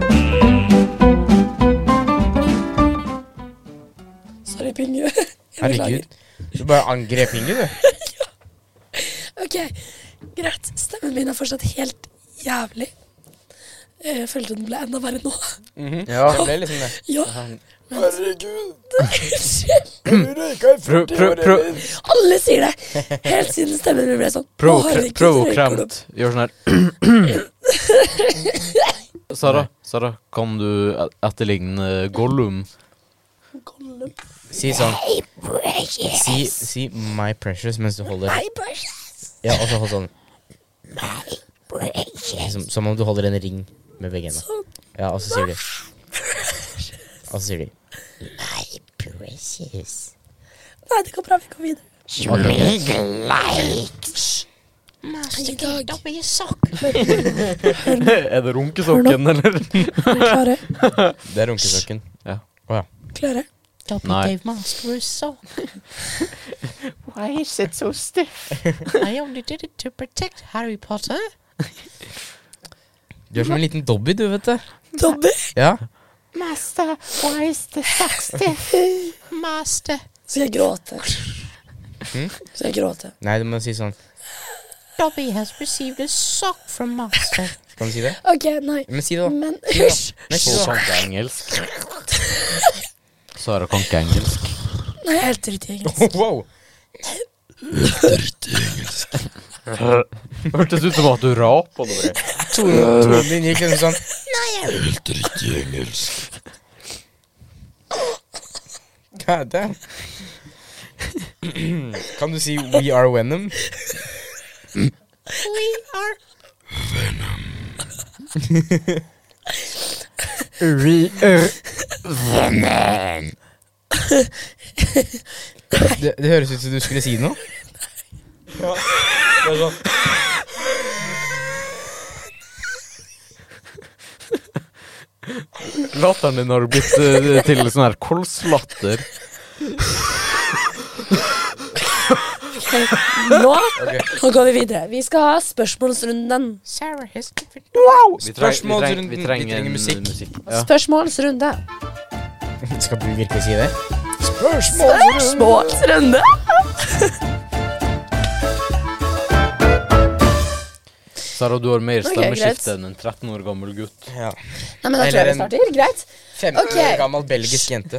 Beklager. Herregud. Du bare angrep ingen, du. Ok, greit. Stemmen min er fortsatt helt jævlig. Eh, Jeg følte den ble enda verre nå. Ja. Det ble liksom det. Ja, Herregud, unnskyld. du røyka i Prøv- 40 prøv- år, prøv- Elin. Alle sier det. Helt siden stemmen min ble sånn. Å, herregud, røyker du? Provokremt. Gjør sånn her. Sara, Sara, kan du et- etterligne Gollum? Gollum. Si sånn Hey, precious. Si, si 'my precious' mens du holder Hey, precious. Ja, og så hold sånn Precious. som, som om du holder en ring med begge hendene. Sånn. Ja, og så sier de Og så sier de My precious. Nei, det går bra. Vi går videre. I dag er det runkesokken, eller? er vi klare. Det er runkesokken. Ja. Å ja. Klare. Nei. Dave Master a song. Why is it so stiff? I only did it to protect Harry Potter. Du er som en liten Dobby, du, vet du. Dobby. Ja. Master, why is the sax stiff? Master, Skal jeg gråte? Skal jeg gråte? Nei, du må si sånn. Dobby has received a sock from Master. Kan du si det? OK, nei. Men si det, da. Men hysj. Nei, si det, Sara kan da. ikke engelsk. Sara kan ikke engelsk. Nei, jeg er helt dritt i engelsk. Wow. Hørtes ut som at du rapa noe. Tonen tonen din gikk liksom sånn. Helt riktig engelsk. God damn. Kan du si 'We are Venom'? We are Det, det høres ut som du skulle si noe. Det er sånn. Latteren din har blitt eh, til sånn her kolslatter. Nå, nå går vi videre. Vi skal ha spørsmålsrunden. Sarah has given Vi Spørsmålsrunden. vi Vi trenger en musikk. Ja. Spørsmålsrunde. Skal du virkelig si det? Spørsmålsrunde! Sara, du har mer Ok, stemmeskifte greit. enn en 13 år gammel gutt. Ja. Nei, men da tror jeg vi starter. Greit. 15 Ok. år gammel belgisk jente.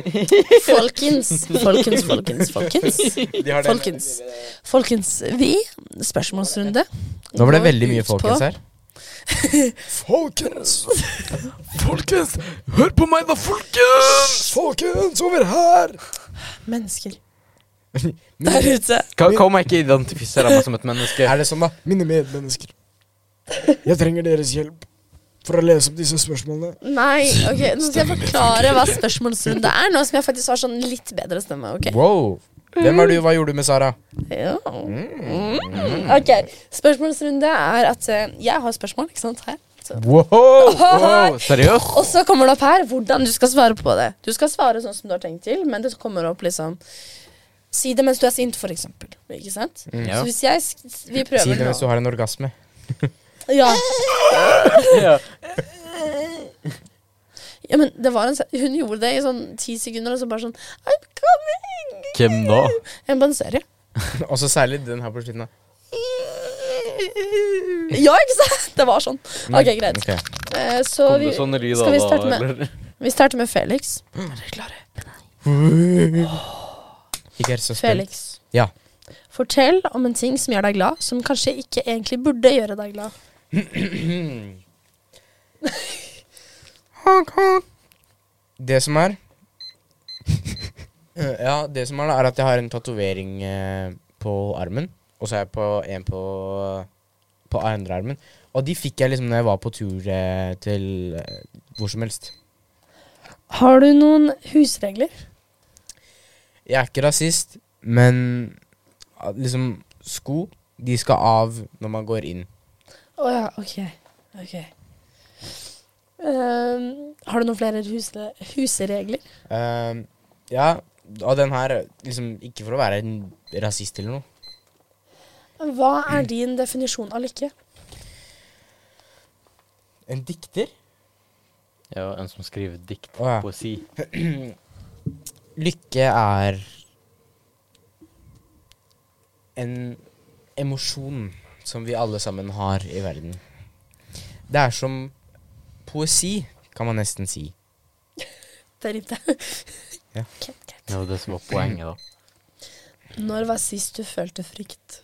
Folkens, folkens, folkens, folkens. De har den- Folkens. Folkens, vi Spørsmålsrunde. Nå var det går veldig mye ut på- folkens her. Folkens, Folkens, hør på meg da, folkens! folkens, over her! Mennesker. Der ute. Kan, kan jeg ikke identifisere meg som et menneske? Er det sånn, da? Mine medmennesker. Jeg trenger deres hjelp for å lese opp disse spørsmålene. Nei, ok, nå skal jeg forklare hva spørsmålsrunde er. Nå som jeg faktisk har sånn litt bedre stemme. ok? Wow. Hvem er du? Hva gjorde du med Sara? Ja. Mm. Ok, Spørsmålsrunde er at eh, jeg har spørsmål, ikke sant, her. Så. Wow, wow, seriøst? Og så kommer det opp her hvordan du skal svare på det. Du skal svare sånn som du har tenkt til, men det kommer opp liksom Si det mens du er sint, for eksempel. Ikke sant? Mm, Ja. Så hvis jeg sk- Vi prøver Si det nå. mens du har en orgasme. Ja. Ja. ja, men det var en se- Hun gjorde det i sånn ti sekunder, og så bare sånn I'm coming! Hvem da? En på en serie. Og så særlig den her på slutten. da. Ja, ikke sant? Det var sånn. Ok, greit. Ok. Eh, så Kom vi, det sånne lyder skal vi da, starte med- eller? vi starter med Felix. Er Mm. dere klare? Ikke er så spent. Felix. Ja. Fortell om en ting som gjør deg glad, som kanskje ikke egentlig burde gjøre deg glad. Det som er Eh, Ja, det som er, da, er at jeg har en tatovering eh, på armen. Og så har jeg på en på, på andre armen. Og de fikk jeg liksom når jeg var på tur eh, til eh, hvor som helst. Har du noen husregler? Jeg er ikke rasist, men ah, liksom sko de skal av når man går inn. Å ja, ok. Ok. Ehm, har du noen flere husle, husregler? Eh, ja, og den her liksom Ikke for å være en rasist eller noe. Hva er din definisjon av lykke? En dikter? Ja, en som skriver dikt, Å, ja. poesi. Lykke er en emosjon som vi alle sammen har i verden. Det er som poesi, kan man nesten si. Der rimte Ja. jeg. Ok, greit. Det var det som var poenget, da. Når var sist du følte frykt?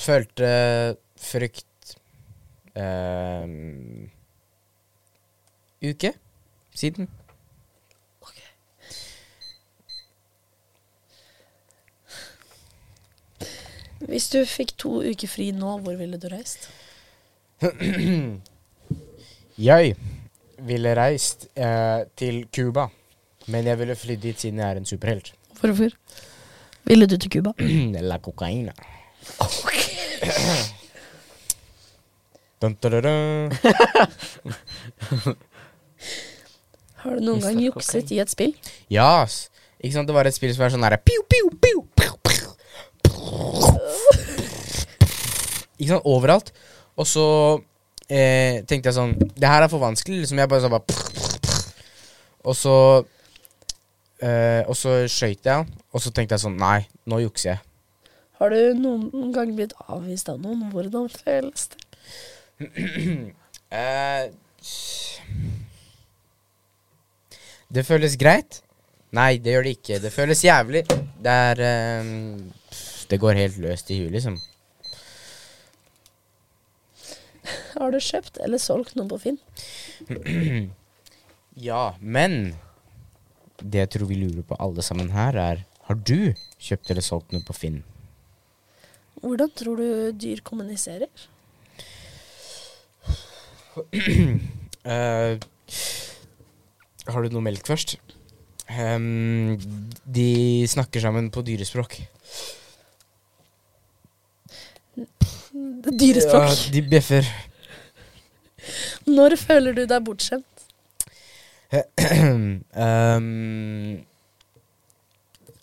Følte frykt ehm, uke siden. Hvis du fikk to uker fri nå, hvor ville du reist? Jeg ville reist eh, til Cuba, men jeg ville flydd dit siden jeg er en superhelt. Hvorfor? Ville du til Cuba? La cocaina. Dun, dun, dun, dun. Har du noen gang jukset i et spill? Ja, ass. Ikke sant, det var et spill som var sånn derre piu, piu, piu, piu, piu. Ikke sant, overalt. Og så eh, tenkte jeg sånn Det her er for vanskelig, liksom. Jeg bare sa bare Og så eh, Og så skøyt jeg, og så tenkte jeg sånn Nei, nå jukser jeg. Har du noen gang blitt avvist av noen? Hvordan føles det? Eh, det føles greit. Nei, det gjør det ikke. Det føles jævlig. Det er eh, Det går helt løst i huet, liksom. Har du kjøpt eller solgt noe på Finn? Ja, men det jeg tror vi lurer på alle sammen her, er Har du kjøpt eller solgt noe på Finn? Hvordan tror du dyr kommuniserer? Eh, har du noe melk først? Ehm, de snakker sammen på dyrespråk. Ja, Dyrespråk. de bjeffer. Når føler du deg bortskjemt? Ehm,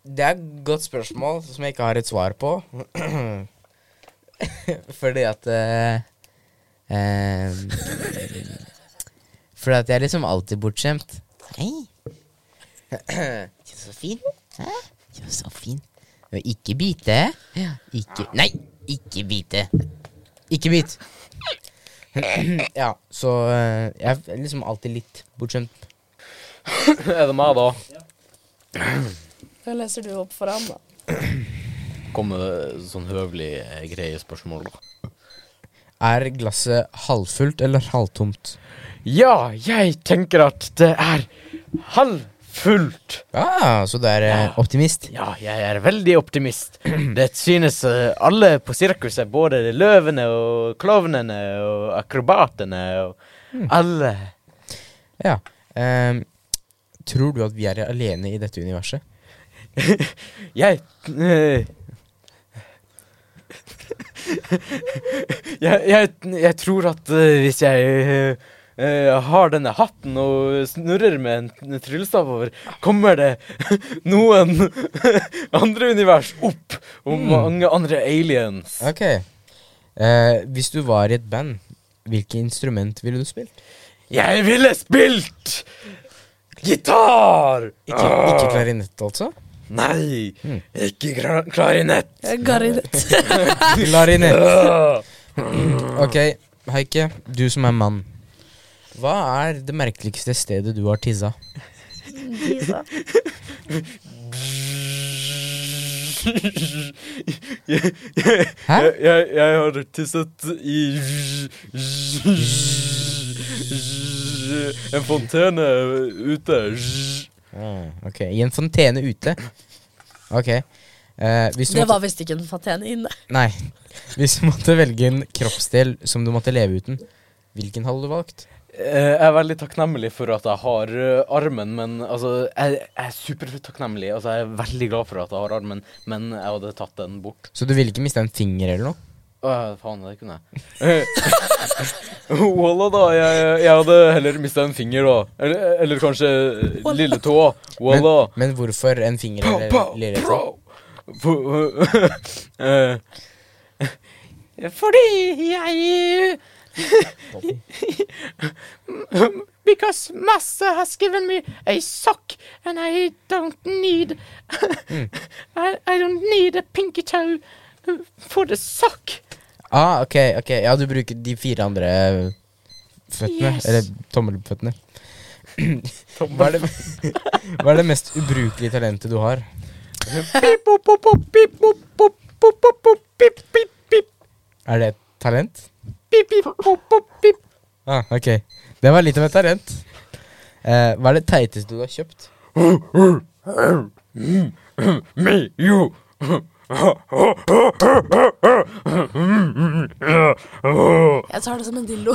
det er et godt spørsmål som jeg ikke har et svar på. fordi at eh, ehm, Fordi at jeg er liksom alltid bortskjemt. Hei, Ikke så fin. du er så fin. Ikke bite. Ikke Nei, ikke bite. Ikke bit. ja, så eh, jeg er liksom alltid litt bortskjemt. er det meg, da? Da leser du opp for ham, da. Kom med det sånn høvelig eh, greie spørsmål, da. Er glasset halvfullt eller halvtomt? Ja, jeg tenker at det er halvfullt. Ah, så du er eh, optimist? Ja, jeg er veldig optimist. Det synes eh, alle på sirkuset, både de løvene og klovnene og akrobatene og alle. Ja. Ehm, tror du at vi er alene i dette universet? Jeg eh, jeg, jeg, jeg tror at eh, hvis jeg eh, eh, har denne hatten og snurrer med en tryllestav over, kommer det noen andre univers opp, og Hmm. mange andre aliens. Ok. Eh, hvis du var i et band, hvilket instrument ville du spilt? Jeg ville spilt gitar! Ah, Ikke, ikke Hmm. klarinett, altså? Nei, ikke kla klarinett. Ah. Garrinett. Klarinett. Ok, Heike, du som er mann. Hva er det merkeligste stedet du har tissa? Hæ? Jeg, jeg, jeg har tisset i En fontene ute. Ah, ok, I en fontene ute. Ok. Eh, hvis du Det måtte- var visst ikke en fatene inne. Nei. Hvis du måtte velge en kroppsdel som du måtte leve uten, hvilken hadde du valgt? Eh, Jeg er veldig takknemlig for at jeg har eh, armen, men altså Jeg, jeg er supertakknemlig. Altså, jeg er veldig glad for at jeg har armen, men jeg hadde tatt den bort. Så du ville ikke miste en finger eller noe? Åh, faen, det kunne jeg. Walla, da. Jeg, jeg hadde heller mista en finger, da. Eller, eller kanskje lille tå. Men, Walla. men hvorfor en finger Pow, eller pow, lille tå? pow. Po- eh, Fordi jeg because Master has given me a sock and I don't need Hmm. I, I don't need a pinky toe uh, for the sock. Ah, ok, ok. Ja, du bruker de fire andre eh, føttene. Yes. Eller tommelføttene. hva, er det, hva er det mest ubrukelige talentet du har? Beep, boop, boop, boop, beep, boop, boop, boop, boop, boop, beep, beep, beep, Er det et talent? beep, beep, boop, boop, beep. Ah, ok. Det var litt av et talent. Eh, hva er det teiteste du har kjøpt? Me, you. Jeg tar det som en dildo.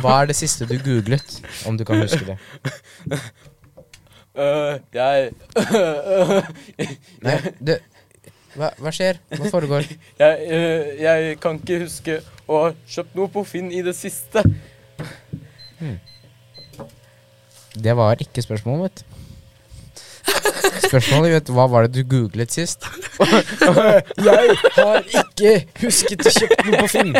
Hva er det siste du googlet, om du kan huske det? Øh, jeg eh, Nei, du hva, hva skjer? Hva foregår? jeg, øh, jeg kan ikke huske å ha kjøpt noe på Finn i det siste. Det var ikke spørsmålet mitt. Spørsmålet mitt hva var det du googlet sist? Jeg har ikke husket å kjøpe noe på Finn.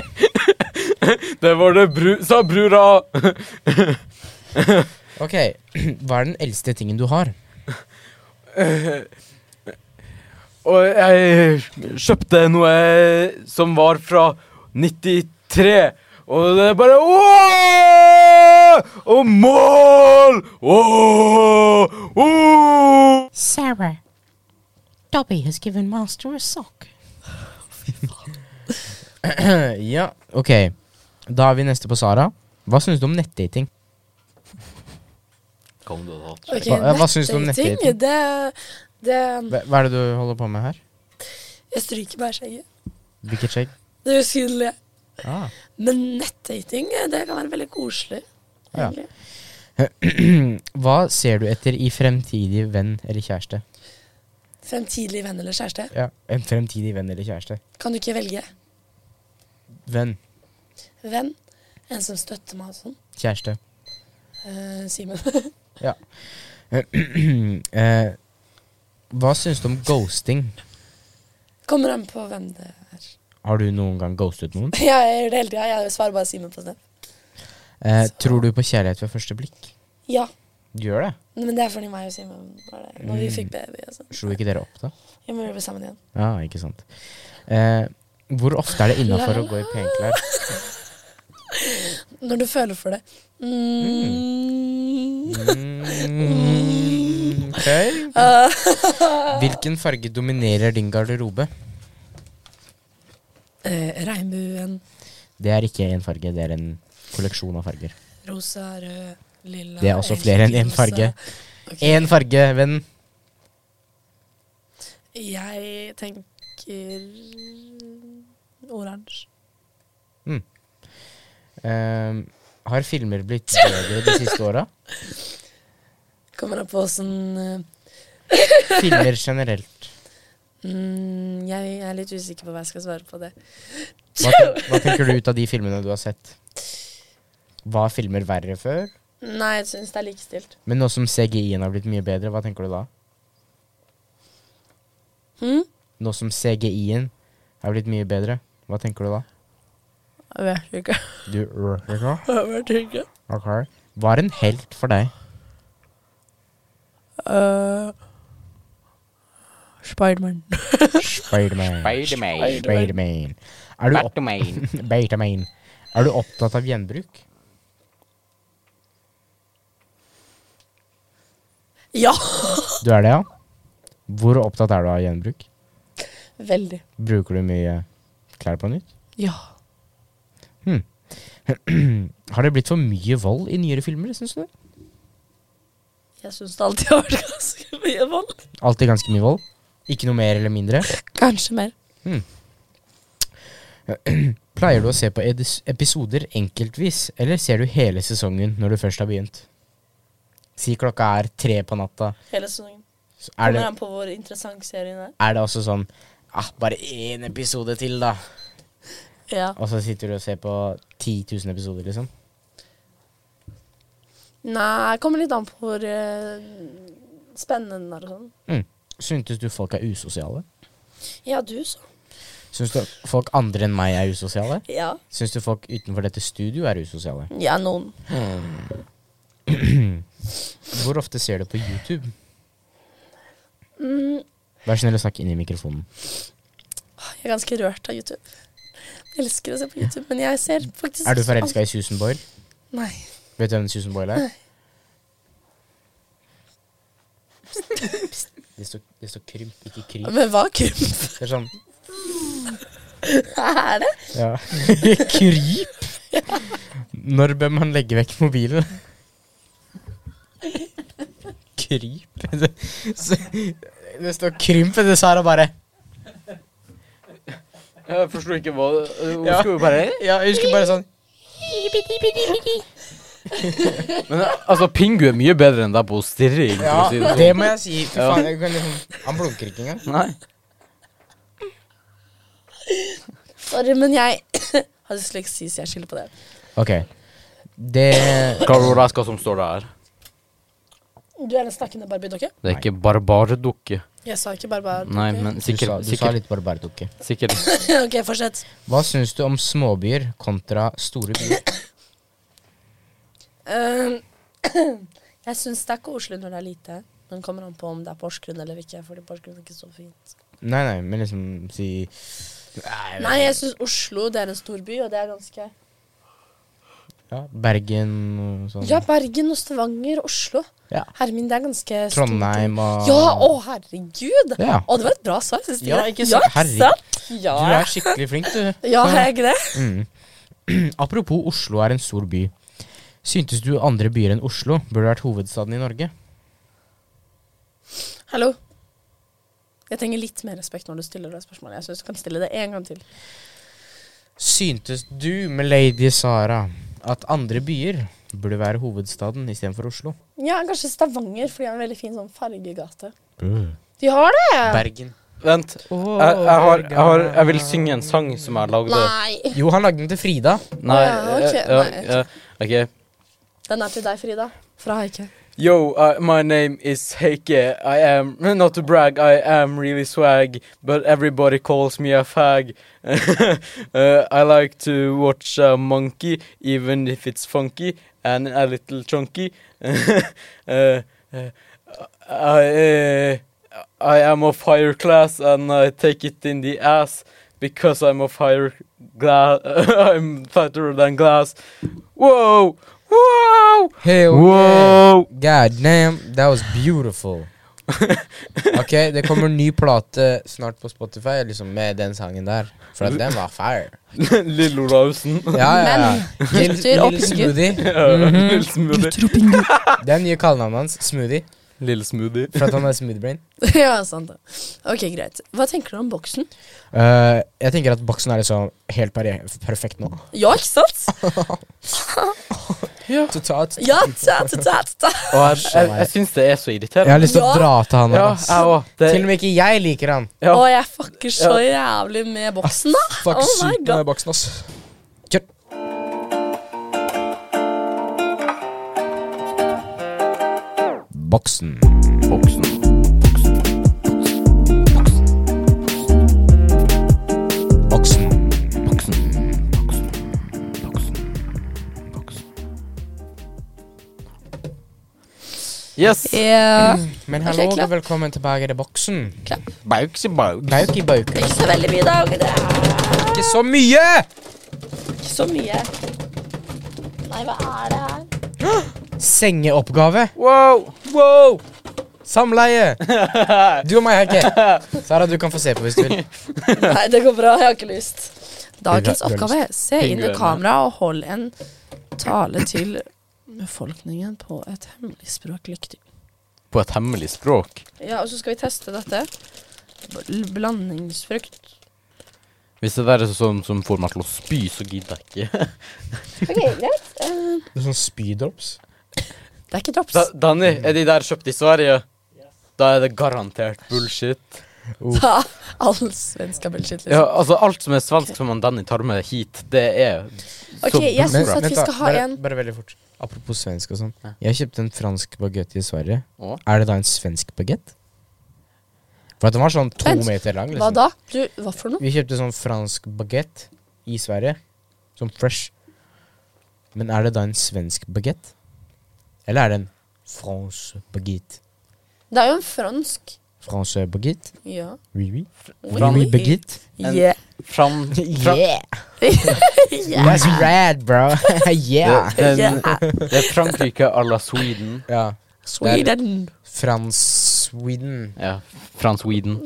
Det var det bru... Sa brura. Ok, hva er den eldste tingen du har? Og jeg kjøpte noe som var fra 93. Og det er bare Åh! Og mål! Åh! Åh! Sarah, Dobby has given Master a sock. ja, ok. Da er vi neste på Sara. Hva syns du om nettdating? Kom du og tatt. Ok, Hva- hva synes du om nettdating, nettdating? Det, det Hva hva er det du holder på med her? Jeg stryker bare skjegget. Hvilket skjegg? Det er usynlig. Ah. Men nettdating, det kan være veldig koselig. Ja. egentlig. Hva ser du etter i fremtidig venn eller kjæreste? Fremtidig venn eller kjæreste. Ja, en fremtidig venn eller kjæreste. Kan du ikke velge Venn. venn? En som støtter meg og sånn. Kjæreste. Eh, Simen. eh, hva syns du om ghosting? Kommer an på hvem det er. Har du noen gang ghostet noen? Jeg gjør det hele tida. Jeg svarer bare Simen på det. Eh, tror du på kjærlighet ved første blikk? Ja. Du gjør det. Men det er fordi meg og Simen var det. Når vi fikk baby og sånn. Slo ikke dere opp, da? Vi må jobbe sammen igjen. Ja, ikke sant. Eh, hvor ofte er det innafor å gå i penklær? Når du føler for det. Mm. Mm, ok. Hvilken farge dominerer din garderobe? Eh, regnbuen. Det er ikke én farge, det er en kolleksjon av farger. Rosa, rød, lilla Det er også flere enn én rosa. farge. Ok. Én farge, venn. Jeg tenker oransje. Ehm, har filmer blitt bedre de siste åra? Kommer an på åssen eh, Filmer generelt. mm, Jeg er litt usikker på hva jeg skal svare på det. Hva, ten hva tenker du ut av de filmene du har sett? Var filmer verre før? Nei, jeg syns det er likestilt. Men nå som CGI-en har blitt mye bedre, hva tenker du da? Hm? Nå som CGI-en har blitt mye bedre, hva tenker du da? Jeg vet ikke. Du Jeg vet ikke. Ok. Var en helt for deg. Uh, Spiderman. Spiderman. Spiderman. Spiderman. Er du opp- Batman. Beitamin. Er du opptatt av gjenbruk? Ja! Du er det, ja? Hvor opptatt er du av gjenbruk? Veldig. Bruker du mye klær på nytt? Ja. Har det blitt for mye vold i nyere filmer, syns du? Jeg syns det alltid har vært ganske mye vold. Alltid ganske mye vold? Ikke noe mer eller mindre? Kanskje mer. Pleier du å se på edis- episoder enkeltvis, eller ser du hele sesongen når du først har begynt? Si klokka er tre på natta. Hele sesongen. Så Er Kommer det, an på hvor interessant serien er. er det også sånn ah, Bare én episode til, da. Ja. Og så sitter du og ser på 10 000 episoder, liksom. Nei, det kommer litt an på hvor eh, spennende den er og sånn. Mm. Syntes du folk er usosiale? Ja, du så. Syns du folk andre enn meg er usosiale? Ja. Syns du folk utenfor dette studio er usosiale? ja, noen. Hvor ofte ser du på YouTube? Mm, Vær snill å snakke inn i mikrofonen. jeg er ganske rørt av YouTube. Jeg elsker å se på YouTube, men jeg ser faktisk Er du forelska i Susan Boyle? Nei. Vet du hvem Susan Boyle er? Det står, det står krymp, ikke kryp. Men hva krymp Det er sånn er det? ja. Kryp? Når bør man legge vekk mobilen? Kryp? Det, det står krymp, det sa jeg bare. Jeg forsto ikke hva Hun Ja. skulle jo bare Ja, jeg husker bare sånn Men altså, Pingu er mye bedre enn deg på stirring. for å Ja, si det sånn. det må jeg si. Fy faen, jeg kan liksom, han blunker ikke engang. Nei. Sorry, men jeg har dysleksi, så jeg skylder på det. Ok. Det Klarer du å lese hva som står der? Du er en snakkende barbiedokke? Det er ikke barbardukke. Jeg sa ikke barbar. Nei, men Du sa, sikkert du sa sikkert, litt barbardukke. sikkert ok, fortsett. Hva syns du om småbyer kontra store byer? Ehm, jeg syns det er koselig når det er lite. Men kommer an på om det er Porsgrunn eller ikke. Fordi Porsgrunn er ikke så fint. Nei, nei, men liksom si Nei, jeg syns Oslo det er en stor by, og det er ganske ja, Bergen og sånn. Ja, Bergen og Stavanger og Oslo. Ja. Hermin, det er ganske stort. Trondheim og Ja, å herregud! Ja. Å, det var et bra svar. Synes Ja, jeg. ikke sant? Herregud. sant? Ja. Du er skikkelig flink, du. ja, er jeg ikke det? Mm. Apropos Oslo er en stor by. Syntes du andre byer enn Oslo burde vært hovedstaden i Norge? Hallo. Jeg trenger litt mer respekt når du stiller det spørsmålet. Jeg synes du kan stille det en gang til. Syntes du, med lady Sara, at andre byer burde være hovedstaden istedenfor Oslo? Ja, kanskje Stavanger, for de har en veldig fin sånn fargegate. De har det! Bergen. Vent. Jeg, jeg, har, jeg, har, jeg vil synge en sang som jeg lagde. Nei! Jo, han lagde den til Frida. Nei. Ja, ok, eh, ja, nei. ja, ok. Den er til deg, Frida. Fra Heike. Yo, uh, my name is Heike. I am, not to brag, I am really swag, but everybody calls me a fag. uh, I like to watch a monkey, even if it's funky and a little chunky. uh, uh, I, uh, I am of higher class and I take it in the ass because I'm of higher glass. I'm fatter than glass. Whoa! Whoa! Hell Wow! God damn, that was beautiful. ok, det kommer en ny plate snart på Spotify liksom med den sangen der. For at den var fire. Lille Olavsen. Ja, ja, ja. Lill- betyr Lill oppskrytt. Smoothie. Lille Smoothie. Det er nye kallenavnet hans. Smoothie. Lille Smoothie. For at han er smoothiebrain. ja, sant det. Ok, greit. Hva tenker du om boksen? Uh, jeg tenker at boksen er liksom helt pare- perfekt nå. Ja, ikke sant? Totalt. Ja, ta, ta, ta, ta. Og jeg, jeg, jeg syns det er så Jeg irriterende. har lyst til å Ja. dra til han. Ja, her, ass. jeg òg. Til og med ikke jeg liker han. Ja. Å, jeg fucker så jævlig med boksen, da. Fuck, Oh my syk god. denne boksen, ass. Kjør. Boksen. Boksen. Boksen. Boksen. Boksen. Boksen. Boksen. Yes. Ja. Men Ok, hallo klapp. og velkommen tilbake til boksen. Bauks i bauks. Bauk i bauk. Ikke så veldig mye, da. Det er Ikke så mye! ikke så mye. Nei, hva er det her? Sengeoppgave. Wow. Wow. Samleie. Du og meg, Heike. Sara, du kan få se på hvis du vil. Nei, det går bra. Jeg har ikke lyst. Dagens Du har- du har oppgave er se inn i Pinguinene. kamera og hold en tale til befolkningen på et hemmelig språk lykkelig. På et hemmelig språk. Ja, og så skal vi teste dette. Bl- Blandingsfrukt. Hvis det der er sånn som får meg til å spy, så gidder jeg ikke. Ok, greit. Eh, Det er sånn speedrops. det er ikke drops. Da, Danny, er de der kjøpt i Sverige? Da er det garantert bullshit. Ta all svenska bullshit, Ja, liksom. altså Alt som er svensk som han Danny tar med hit, det er Ok, jeg bullshit. synes at vi skal ha bare, en- bare veldig fort. Apropos svensk og sånn. Ja. Jeg kjøpte en fransk bagett i Sverige. Å? Er det da en svensk bagett? For at den var sånn to Vent, meter lang. Hva Liksom. da? Du, hva for noe? Vi kjøpte sånn fransk bagett i Sverige. Sånn fresh. Men er det da en svensk bagett? Eller er det en fransk baguette? Det er jo en fransk. Fransk baguette? Ja. Oui, oui. Oui, Fran- oui, baguette. En- Yeah. Fram fra- Yeah! That's rad, bro. yeah. det, det, Yeah. det er Frankrike à la Sweden. Ja. Sweden. Frans-Sweden. Ja. Fra Sweden.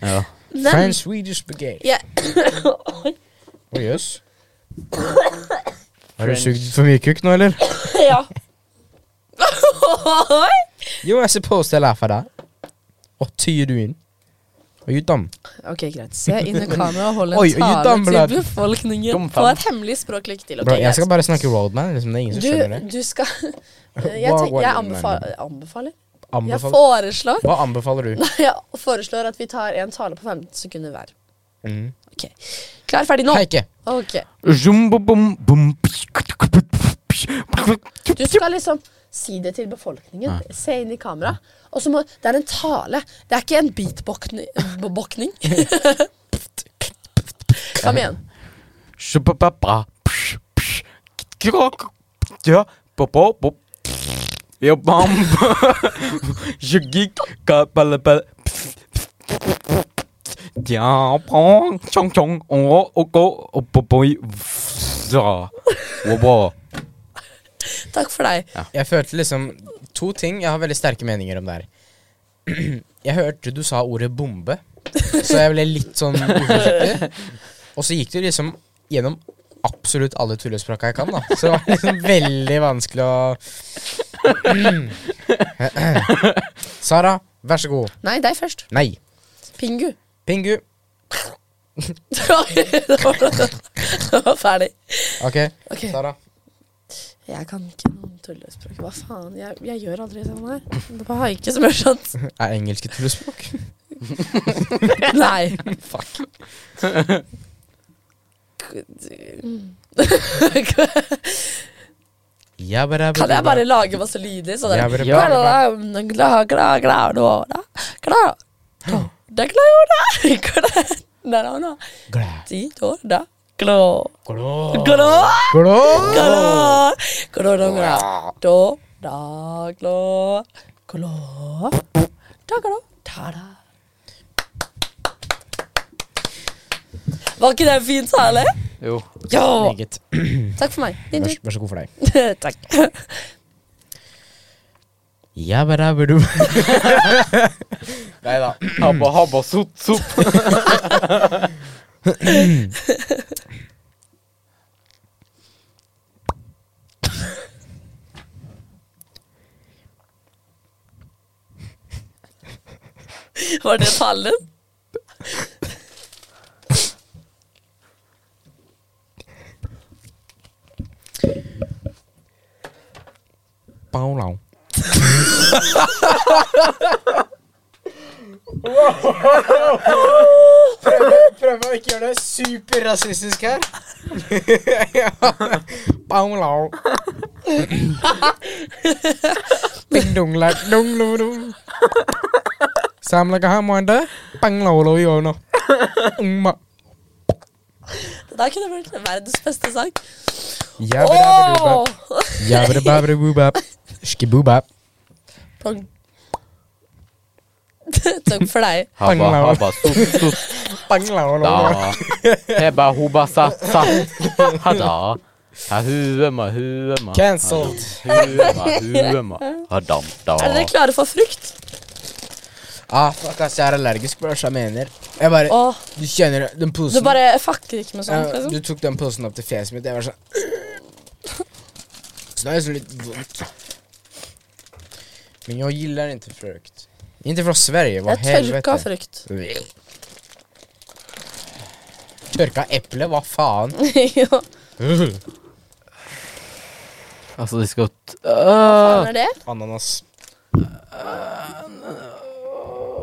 Ja. Men- French-Swedish baguette. Ja. Å, jøss. Har du sugd for mye kukk nå, eller? ja. You are supposed to laugh at that. What tear you in? Are you dumb? ok, greit. Se inn i kamera og hold en Oi, og gi tale damblad. til befolkningen Kom på fram. et hemmelig språk lykke til. Ok, Bro, jeg greit. skal bare snakke roadman. Liksom, det er ingen som skjønner det. du, du skal Eh, Jeg, Hva- tenk, hva- jeg anbefaler, anbefaler? Jeg Anbefal foreslår Hva anbefaler du? Jeg foreslår at vi tar en tale på 15 sekunder hver. Mm. Klar, ferdig, nå! Heike. Ok. Jumbo bom bom Du skal liksom si det til befolkningen. Se inn i kamera. Og så må Det er en tale. Det er ikke en beatbokning. Kom igjen. Shubababa. Psh, psh. Krok. Ja. Popo. Pop. Ja, bam. Jugik. Kapalapal. Ja, pong. Chong, chong. Ongo, oko, opopoi. Ja. Wobo. Takk for deg. Jeg følte liksom to ting Jeg har veldig sterke meninger om det her. Jeg hørte du sa ordet bombe, så jeg ble litt sånn uforsiktig. Og så gikk du liksom gjennom absolutt alle tullespråka jeg kan, da. Så det var liksom veldig vanskelig å Sara, vær så god. Nei, deg først. Nei. Pingu. Pingu. det var det var ferdig. Ok, Ok. Sara. Jeg kan ikke noen tullespråk. Hva faen? Jeg, jeg gjør aldri sånn her. Det var ikke som er sånn. Er engelske tullespråk? Nei. Fuck. Kan jeg bare lage masse lyder? Sånn Ja, der. bare- Kla, la, kla, kla, kla, nå, da. Kla. Da, kla, jo, da. Kla. Da, da, da. Ti, to, da. Klå. Klå. Klå. Klå, da, kla. Da, da, klå. Klå. Da, klå. Ta, da. Var ikke det en fin tale? Jo. Ja! Meget. Takk for meg. Din Vær, tur. så- vær så god for deg. Takk. Jabba-dabba-doo. Nei da. Habba, habba, sot, sot. Var det talen? Bao-lao. Prøve å ikke gjøre det superrasistisk her. Bao-lao. Ding-dong-la-dong-lo-dong. Samla-ka-ha-moanda. Pang-lo-lo-yo-no. Umma. Det der kunne vært verdens beste sang. Jabba-dabba-dubba. Åh! Jabba-dabba-dubba. Skibubba. Pang. Takk for deg. Habba, Pangla. habba, sot, sot, Pang-lo-lo-lo. da. Hebba, hubba, satt, satt. Hada. Ha, huema, huema. Cancelled. Huema, huema. Hadam, da. Er dere klare for frukt? Ah, fuck ass, jeg er allergisk på hva jeg mener. Jeg bare, Åh, Du kjenner den du posen. bare fucker ikke med sånt, Ja, liksom? du tok den posen opp til fjeset mitt. Jeg var sånn Så det er liksom litt vondt. Men jag gillar inte frukt. Inte från Sverige, vad Jeg helvete. tørka frukt. Tørka eple, hva faen? Ja, Altså, de skal t- Faen er det? Ananas.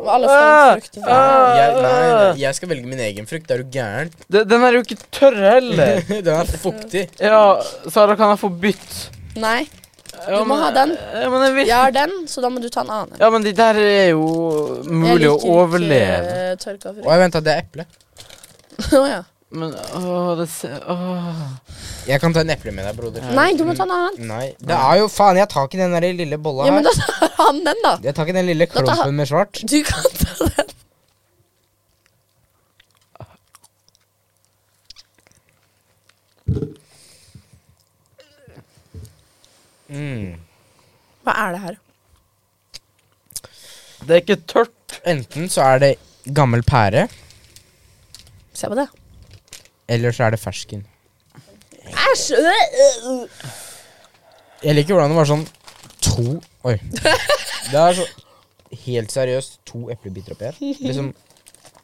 Og alle får en frukt. Jeg, nei, nei, jeg skal velge min egen frukt. Er du gæren? Den den er jo ikke tørr heller. Den er fuktig. Ja, Sara, kan jeg få bytt? Nei. Du må ha den. Ja, men jeg vil Jeg har den, så da må du ta en annen. Ja, men de der er jo mulig å overleve. Jeg liker ikke eh, tørka frukt. Oi, vent, da, det er eple. Å ja. Men åh, det ser åh. Jeg kan ta en eple med deg, broder. Nei, du må ta en annen. Nei. Det er jo faen, jeg tar ikke den der lille bolla Ja, men her. da tar han den, da. Jeg tar ikke den lille tar han- klumpen med svart. Du kan ta den. Mm. Hva er det her? Det er ikke tørt. Enten så er det gammel pære, Se på det. eller så er det fersken. Æsj! øh, øh, øh. Jeg liker hvordan det var sånn to Oi. Det er så Helt seriøst to eplebiter oppi her. Liksom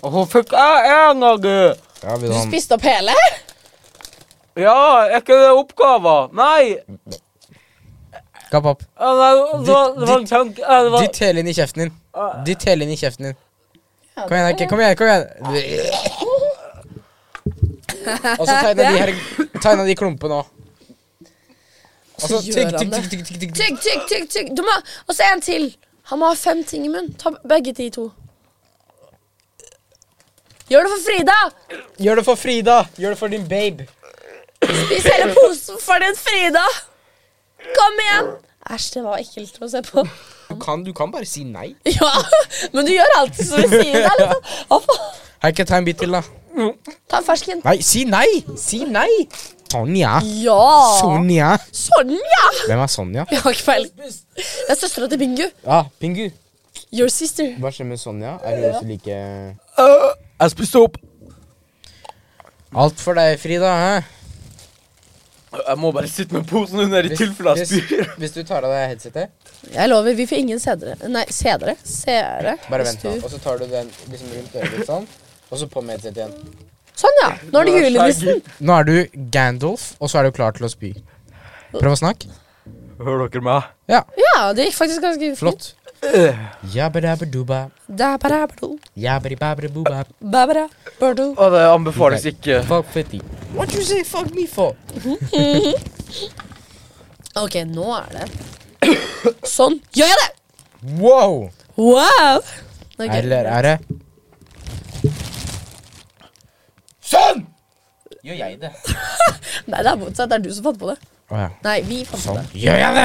Åh, fuck, jeg er noe. ja, vil du Du ha en- spiste opp hele? Ja, er ikke det oppgaven? Nei. Kapp opp. Ja, nei det var, det var en tanke. Ja, det var, Dytt hele inn i kjeften din. Dytt hele inn i kjeften din. Kom igjen, Erke. Kom igjen. kom igjen Og så tegna de her Tegna de klumpene òg. Og så gjør tygg, han tygg, det. tygg, tygg, tygg, tygg. Tygg, tygg, tygg. tygg. Du må, og så en til. Han må ha fem ting i munnen. Ta begge de to. Gjør det for Frida! Gjør det for Frida. Gjør det for din babe. Spis hele posen for din Frida! Kom igjen! Æsj, det var ekkelt å se på. Du kan, du kan bare si nei. Ja, men du gjør alltid som vi sier der. Liksom. Å, faen. Erke, ta en bit til, da. Ta en fersken. Nei, si nei! Si nei! Sonja. Ja! Sonja. Sonja! Hvem er Sonja? Jeg har ikke feil. Det er søstera til Bingu. Ja, Pingu. Your sister. Hva skjer med Sonja? Er hun også like jeg spiste opp. Alt for deg, Frida. Hæ? Jeg må bare sitte med posen under i Hvis- tilfelle jeg hvis- spyr. Hvis du tar av deg headsetet, Jeg lover, vi får ingen sedere. Nei, sedere? Seere. bare Hvis vent, da. Og så tar du den liksom rundt øret ditt sånn, og så på med headsetet igjen. Sånn, ja. Nå er det julenissen. Nå er du Gandalf, og så er du klar til å spy. Prøv å snakke. Hører dere meg? Ja, det gikk faktisk ganske fint. Flott. Jabba-dabba-dubba, Da-ba-da-ba-do, jabba-di-babba-bubba, ba-ba-da-ba-do. Å, det anbefales ikke. fuck fifty. What you say fuck me for? Ok, nå er det Sånn gjør jeg det! Wow! Wow! Ok. Eller er det Sånn! Gjør jeg det? Nei, det er motsatt. Det er du som fant på det. Å ja. Nei, vi fant på Sånn. det. Gjør jeg det?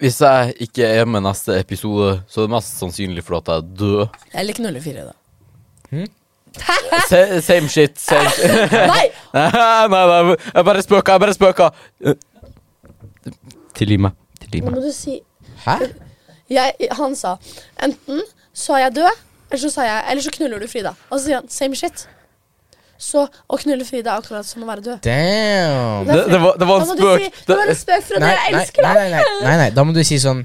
Hvis jeg ikke er med neste episode, så er det mest sannsynlig for at jeg er død. Eller knullefire, da. Hm? Se- Same shit, same shit. Nei! Nei, nei, nei, jeg bare spøker, jeg bare spøker. Tilgi meg. Tilgi Nå meg. må du si Hæ? jeg, Han sa enten så er jeg død, eller så, sa jeg, eller så knuller du Frida. Og så sier han same shit. Så å knulle Frida er akkurat som å være død. Damn. Det, det, var, det Da var en må du si spøk. det var Det- en spøk fra nei, deg, jeg nei, elsker nei, deg. nei, nei, nei, nei, da må du si sånn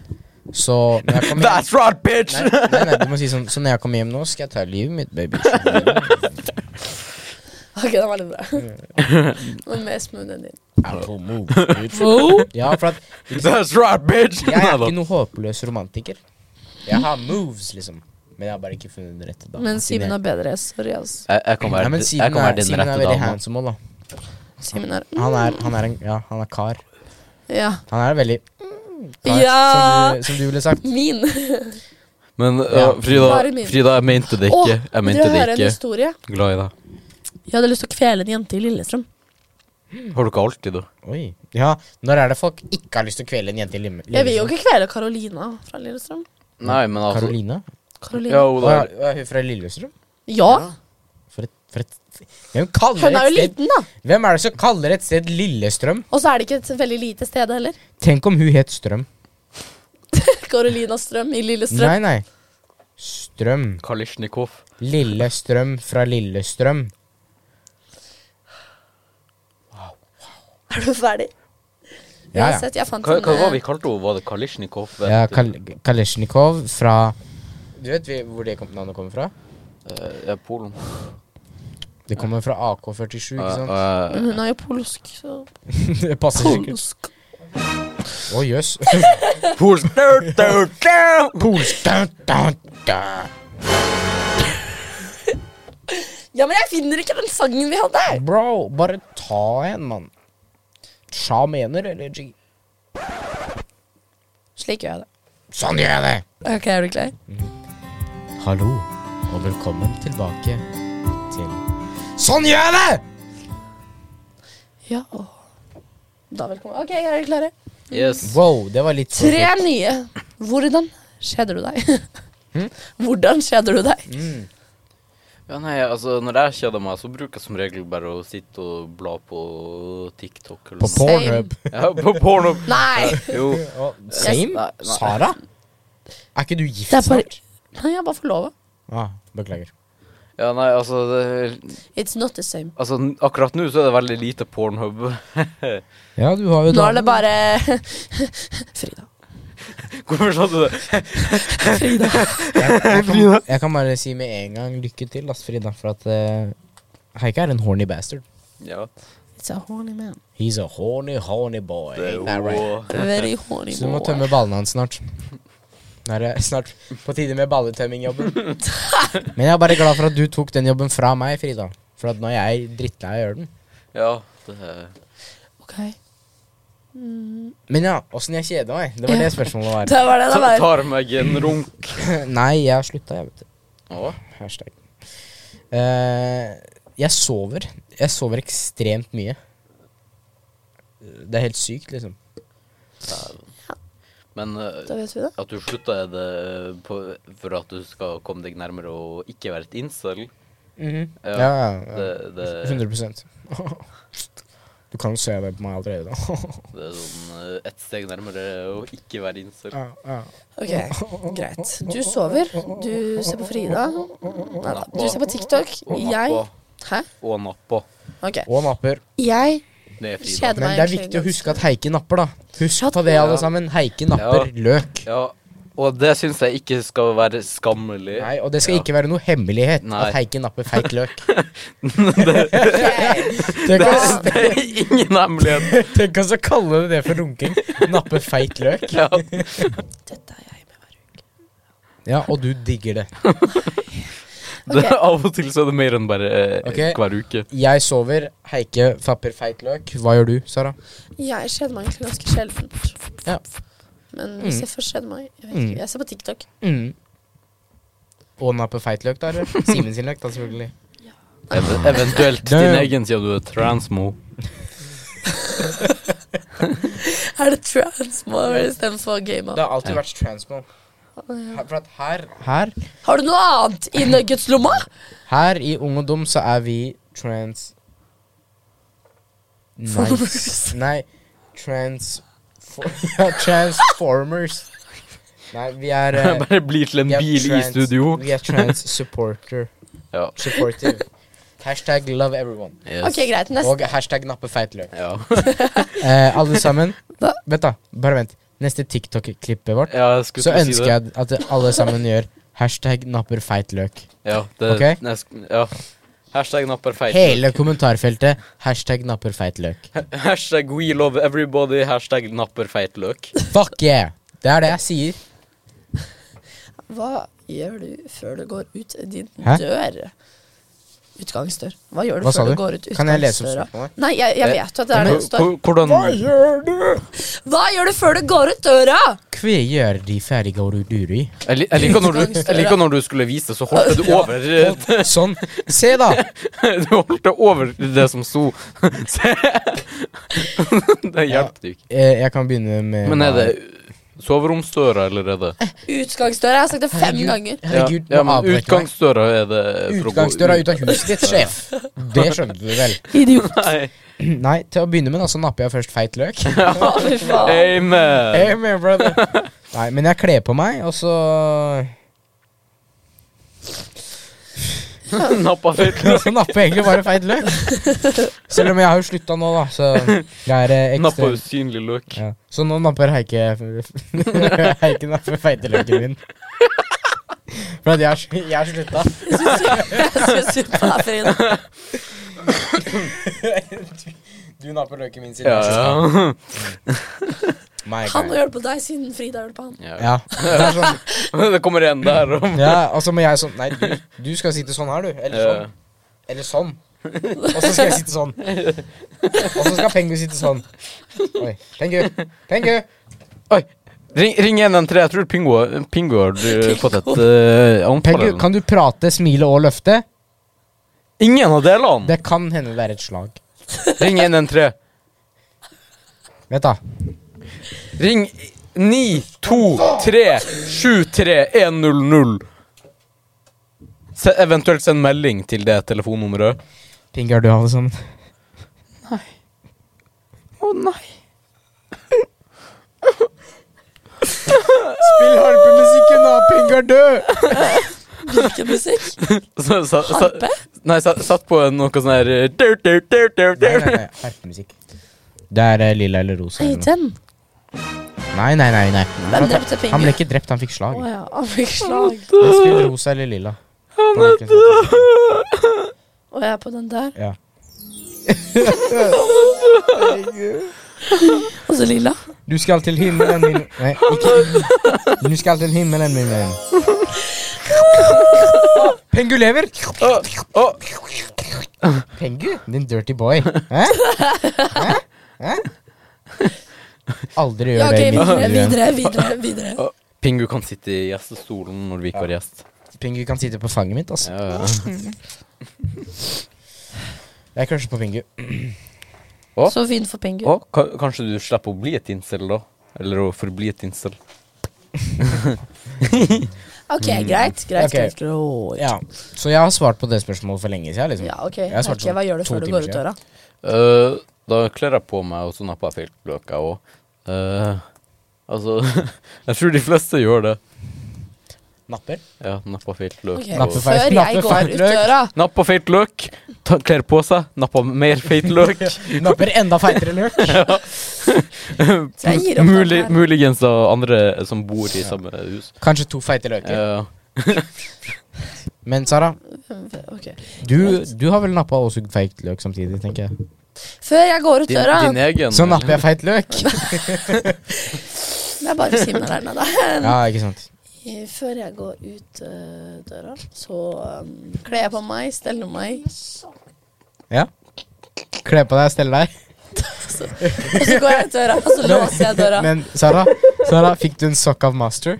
Så når jeg kommer hjem That's right, bitch! nei, nei, nei, du må si sånn Så når jeg kommer hjem nå, skal jeg ta livet mitt, baby. Ok, den var litt bra. Men mer smooth enn din. Apple move, bitch. Ja, for at That's right, bitch! jeg er Neida. ikke noen håpløs romantiker. Jeg har moves, liksom. Men jeg har bare ikke funnet den rette. da Men Simen er bedre. Sorry, ass. Jeg, jeg kan Nei, være, men jeg Simen kan være er, din Simen er rette veldig dame. handsome òg, da. Simen er Ah. Han er, han er en Ja, han er kar. Ja. Han er veldig kar, Ja! som, du, som du ville sagt. Min. Men Ja. øh, Frida, Bare min. Frida, jeg mente det Åh, ikke. Jeg vil mente dere det høre en ikke. historie? Glad i deg. Jeg hadde lyst til å kvele en jente i Lillestrøm. Har du ikke alltid, da? Oi. Ja, når er det folk ikke har lyst til å kvele en jente i lim- Jeg vil jo Lillestrøm? ikke kvele Carolina fra Lillestrøm. Nei, men altså Karoline? Carolina. Ja, hun Å, der. ja, hun fra Lillestrøm? Ja, For et, for et Hvem kaller hun er jo et sted liten, da. Hvem er det som kaller et sted Lillestrøm? Og så er det ikke et veldig lite sted heller. Tenk om hun het Strøm. Carolina Strøm i Lillestrøm. Nei, nei. Strøm. Kalisjnikov. Sånn Lillestrøm fra Lillestrøm. Er du ferdig? Ja, ja. Uansett, jeg fant Hva, en, hva var vi eh, kalte henne? Var det Kalisjnikov? ja Kal Kalesjnikov fra Du vet vi- hvor det kom, navnet kommer fra? Eh, ja, Polen. Det kommer fra AK-47, ikke sant? Øh, øh, Hun er jo polsk, så det passer sikkert. Polsk. Å, jøss. Polsk Polsk da, da, da. Ja, men jeg finner ikke den sangen vi hadde! Bro, bare ta en, mann. Sja mener, eller G? Slik gjør jeg det. Sånn gjør jeg det! Ok, er du klar? Hallo, og velkommen tilbake til Sånn gjør jeg det! Ja. Da velkommen. Ok, er dere klare? Yes. Wow, det var litt for Tre fort. nye. Hvordan kjeder du deg? Hvordan kjeder du deg? Hm? Mm. Ja, nei, altså, når jeg kjeder meg, så bruker jeg som regel bare å sitte og bla på TikTok. Eller På noe. Pornhub. Ja, på porno. Nei! Jo. Å, Same? Nei, nei. Sara? Er ikke du gift Det er bare- snart? Nei, jeg er bare forlova. Ah, beklager. Ja, nei, altså, det, It's not the same. altså n- Akkurat nå så er det veldig lite pornhub. Ja, du har jo Nå er det bare Frida. Hvorfor sa du det? Frida. jeg, jeg, kan, jeg kan bare si med en gang lykke til, ass, Frida, for at eh, Heike er en horny bastard. Ja. It's a horny man. He's a horny, horny boy. Det er Ain't that right? jo Very horny Så du må boy. tømme ballene hans snart. Nå er det snart på tide med balletømmingjobben. Men jeg er bare glad for at du tok den jobben fra meg, Frida. For at nå er jeg drittlei av å gjøre den. Ja. Det er Ok. Mm. Men ja, åssen jeg kjeder meg. Det var det spørsmålet Det var det det Ta- var. Tar meg en runk. var. Nei, jeg har slutta, jeg, vet du. Å, Hashtag. Eh, jeg sover. Jeg sover ekstremt mye. Det er helt sykt, liksom. dæven. Men eh, Da vet vi det. at du slutta, er det eh, på, for at du skal komme deg nærmere og ikke være et incel? Ja, Ja, ja, Det, ja. det, 100 Du kan jo se det på meg allerede. da. det er sånn eh, ett steg nærmere å ikke være incel. ja, ja. Ok, greit. Du sover. Du ser på Frida. Nei da. Du ser på TikTok. Og Jeg nappa. Hæ? Og nappa. Ok. Og napper. Jeg Det er Frida. kjeder Men meg det er viktig å huske at Heike napper, da. Husk Shut på det, up. alle sammen. Heike napper løk. Ja, og det syns jeg ikke skal være skammelig. Nei, Og det skal ikke være noe hemmelighet Nei. at Heike napper feit løk. Ok. Tenk oss, Det er ingen hemmelighet. tenk oss å kalle det det for runking. Nappe feit løk. Ja. Dette er jeg med hver uke. Ja, og du digger det. Det, av og til så er det mer enn bare eh, Ok. hver uke. Jeg sover, Heike fapper feit løk. Hva gjør du, Sara? Jeg kjeder meg egentlig ganske sjeldent. Ja. Men hvis Mm. jeg først kjeder meg Jeg vet Mm. ikke, jeg ser på TikTok. Mm. Og napper feit løk, da? eller? Simen sin løk, da, selvfølgelig. Ev eventuelt din Damn. egen, siden du er transmo. Er det transmore istedenfor gamer? Det har alltid vært transmo. Her- For at her Her, Har du noe annet i nuggetslomma? her i Ung og Dum så er vi trans... Nice. Nei, trans... For, ja, transformers. Nei, vi er eh, Bare blir til en vi er bil i trans- studio. Vi er trans supporter. Ja. Supportive. Hashtag love everyone. Yes. Ok, greit. Neste. Og hashtag nappe feit løk. Ja. Eh, alle sammen. Hva? Vent, da. Bare vent. Neste TikTok-klippet vårt, ja, jeg skulle så til å si ønsker det. jeg at alle sammen gjør hashtag napper feit løk. Ja, det, Ok. jeg sk- ja. Hashtag napper feit. Hele kommentarfeltet hashtag napper feit løk. Hashtag we love everybody. Hashtag napper feit løk. Fuck yeah! Det er det jeg sier. Hva gjør du før du går ut din Hæ? dør? Utgangsdør. Hva gjør du Hva sa før du du? går ut Kan jeg lese opp utgangsdøra? spørsmålet? Eh, Nei, jeg, jeg vet jo at det er det det står. Hvor- Hvordan Hva gjør du før du går ut døra? Hva gjør de ferdige å rudure i? Jeg li- jeg liker når du, jeg liker når du skulle vise det, så holdt du over eh, Sånn. Se, da! Du holdt det over det som sto. Se! Det hjelper jo ikke. Eh, jeg kan begynne med Men er det soveromsdøra, eller er det Utgangsdøra. Jeg har sagt det fem Herregud. ganger. Herregud, nå Ja, men avbrøt du meg. utgangsdøra er det for å gå Utgangsdøra ut av huset ditt, sjef. Det skjønte du vel? Idiot. Nei. Nei, til å begynne med da, så napper jeg først feit løk. Fy faen. Amen. Amen, brother. Nei, men jeg kler på meg, og så Nappa feit løk. Så napper jeg egentlig bare feit løk. Selv om jeg har jo slutta nå, da, så jeg er eh, Nappa ekstra usynlig løk. ja. Så nå napper Heike Heike napper feiteløken min. For at jeg har sl- jeg har slutta. Jeg skal suppe deg, Frida. Du napper løken min siden Ja, ja. My Han guy. gjør det på deg siden Frida gjør det på han. ja. Ja. Det er sånn. Det kommer en der og ja, og så må jeg sånn Nei, du, du skal sitte sånn her, du. Eller sånn. Ja. Eller sånn. Og så skal jeg sitte sånn. Og så skal Pengu sitte sånn. Oi. Pengu! Pengu! Oi. Ring, ring 113. Jeg tror Pingo, Pingo har eh, fått et eh, anfall. Pengu, eller noe. kan du prate, smile og løfte? Ingen av delene! Det kan hende det er et slag. Ring 113. Vet da. Ring 923-73100. Se, eventuelt send melding til det telefonnummeret. Pingu, er du alle sammen? Å nei. Spill harpemusikken, da! Pingu er død! Hvilken musikk? Så- så- Altså, så- Harpe? Nei, sa- satt på noe sånn her eh, dur, dur, dur, dur, Nei, nei, dur. nei. Harpemusikk. Det er eh, lilla eller rosa. Nei, eller noe. den. Nei, nei, nei. nei. Den Han, drepte han ble fingeren. ikke drept, han fikk Å slag. ja, han fikk slag. Han spilte rosa eller lilla. Han er Å ja, på den der. Ja. Og så lilla. Du skal til himmelen min Nei, ikke Du skal til himmelen min venn. Pengu lever! Pengu? Din dirty boy. Hæ? Hæ? Hæ? Aldri Ja, gjør ok, det. i mitt videre, liv igjen. videre, videre. videre. Pingu kan sitte i gjestestolen når vi ikke har gjest. Pengu kan sitte på fanget mitt. Altså. Ja, ja. Jeg crusher på Pengu. Å. Så fint for Pingu. Å, ka- kanskje du slipper å bli et incel, da? Eller å forbli et incel. Ok, greit. Greit. Mm. Ok. greit. greit. Ja. Så jeg har svart på det spørsmålet for lenge siden. Liksom. Ja, ok. Jeg har svart Ok, sånn hva gjør du to før du timer går ut siden. døra? Eh, da kler jeg på meg, og så napper jeg filtløka òg. altså Jeg tror de fleste gjør det. Napper. Ja, napper filtløk. Ok, og- Nappe Før feil- nappe jeg går feil ut løk. døra. Nappa feit løk, ta- kler på seg, nappa mer feit løk. Napper enda feitere løk. Så jeg gir opp Mulig, den her. muligens av andre som bor i samme hus. Kanskje to feite løker. Ja. Men Sara, Ok. du, du har vel nappa og sugd feit løk samtidig, tenker jeg. Før jeg går ut din, døra. din egen Så napper jeg feit løk. Det er bare Simen her nede. Ja, ikke sant. Eh, Før jeg går ut eh, døra, så um, kler jeg på meg, steller meg, Ja. Kle på deg, stelle deg. og så går jeg ut døra, og så låser jeg døra. Men Sara, Sara fikk du en sokk av Master?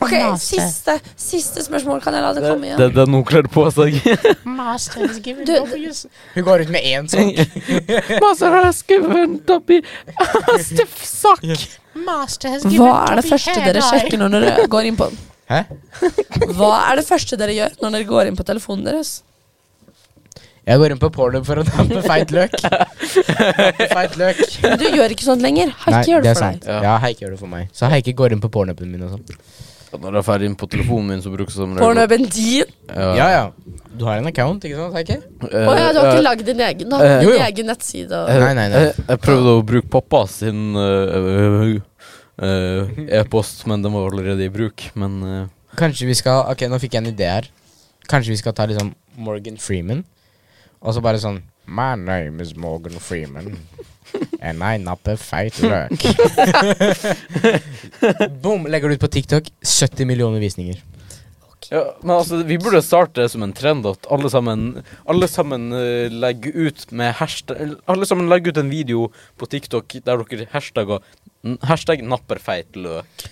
Ok, siste, siste spørsmål. Kan jeg la det komme Det igjen? er den hun kler på seg. Du, Hun går ut med én sokk. Master has given Dobby a stiff sock. hva er det første dere sjekker når dere går inn på den? Hæ? Hva er det første dere gjør når dere går inn på telefonen deres? Jeg går inn på porno for å nappe feit løk. Nappe feit løk. Men du gjør ikke sånt lenger. Har ikke gjør det for deg. Ja. Ja, Heike gjør det for meg. Så Heike går inn på pornoen min og sånn. Når jeg er ferdig på telefonen min, så bruker jeg som Pornhuben din? Ja, ja. Du har en account, ikke sant, Heike? Å ja, du har ikke lagd din egen, da. eh, jo, jo. Din egen nettside og Nei, nei, nei. Jeg, jeg prøvde å bruke pappa sin eh, eh, eh, e-post, men den var allerede i bruk. Men eh, Kanskje vi skal Ok, nå fikk jeg en idé her. Kanskje vi skal ta liksom Morgan Freeman, og så bare sånn My name is Morgan Freeman, and I napper feit løk. Boom! Legger du ut på TikTok. 70 millioner visninger. Ja, men altså, vi burde starte det som en trend at alle sammen, alle sammen eh, legger ut med hashtag Alle sammen legger ut en video på TikTok der dere hashtagger n- Hashtag napperfeitløk.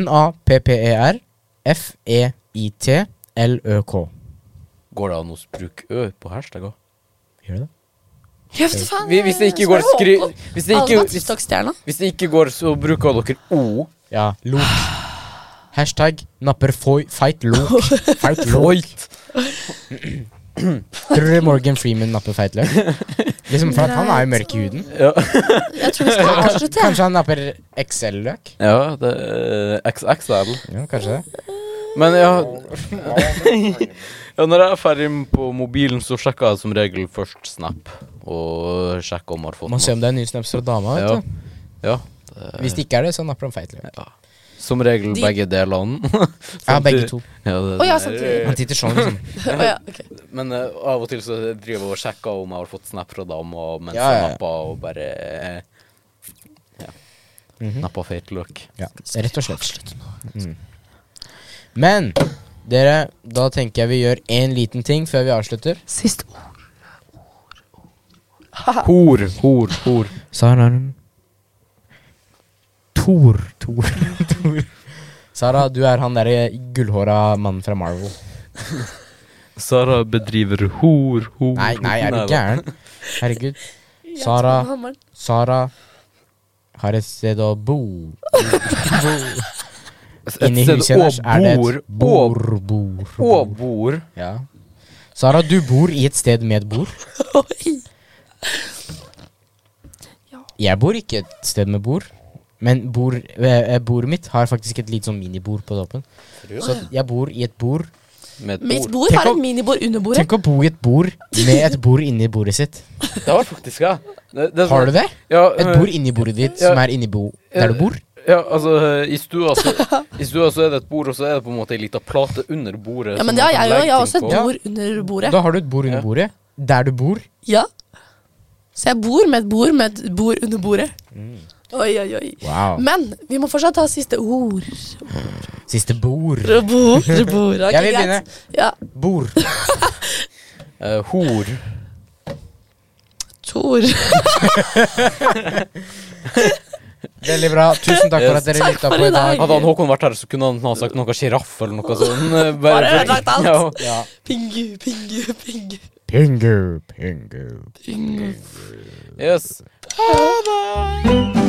N-A-P-P-E-R E F-E-I-T L-Ø-K. Går det an å bruke ø på hashtagger? Gjør det? Ja, for faen, Vi- Hvis det ikke går skri... Hvis det Alma ikke, hvis, TikTok-stjerna. hvis det ikke går, så bruker dere o. Ja. Lok. Hashtag napper foi, feit lok. Feit lok. Tror du Morgan Freeman napper feit løk? Liksom, for at han er jo mørk i huden. Ja, Jeg tror vi skal avslutte. Kanskje han napper XL-løk? ja det er XXL. Ja, kanskje det. Men ja Ja, når jeg er ferdig på mobilen, så sjekker jeg som regel først Snap. Og sjekker om jeg har fått Man ser om det er nye snaps fra dama. vet Ja. du Ja. Hvis det ikke er det, så napper han feit løk. Som regel De- begge delene. Ja, begge to. Ja, det, Å ja, det samtidig. Han sitter sånn. Liksom. Å ja, ok. er- Eh, Men eh, av og til så driver jeg og sjekker om jeg har fått snap fra dama mens Ja, ja, ja. jeg napper, og bare eh, ja. Mhm. Napper feit løk. Ja, rett og slett. Mm. Men dere, da tenker jeg vi gjør én liten ting før vi avslutter. Sist Hor, hor, hor. Sara Tor. Tor. Tor. Sara, du er han derre gullhåra mannen fra Marvel. Sara bedriver hor, hor Nei, nei, er du da. gæren? Herregud. Sara. Sara har et sted å bo. Inni sted huset hennes å er det et bor, bor, bor, Og bor. bor Ja. Sara, du bor i et sted med et bord. Jeg bor ikke et sted med bord. Men bord, eh, eh, bordet mitt har faktisk et lite sånn minibord på toppen. Så at jeg bor i et bord. med et Mitt bord. bord Tenk har om- et minibord under bordet. Tenk å bo i et bord med et bord inni bordet sitt. Det var faktisk ja. Det, det, Har du det? Ja, Et men- bord inni bordet ditt som er inni bo der du bor? Ja, altså, eh, i stua, så, i stua så er det et bord, og så er det på en måte ei lita plate under bordet. Ja, som men det har man kan jeg jo. legge Jeg har ting også et på. Ja. bord under bordet. Da har du et bord under Ja. bordet. Der du bor. Ja. Så jeg bor med et bord med et bord under bordet. Oi, oi, oi. Wow. Men vi må fortsatt ha siste ord. Siste bord. Bord, bord. Ok, Jeg vil greit. begynne. Ja. Bord. Eh, hor. Tor. Veldig bra. Tusen takk for at dere Takk lytta for på i i dag. dag. Hadde han Håkon vært her, så kunne han ha sagt noe sjiraff eller noe sånt. eh, Bare ødelagt alt. Ja. Pingu, pingu, pingu. Pingu, pingu. pingu. Yes. Ha det!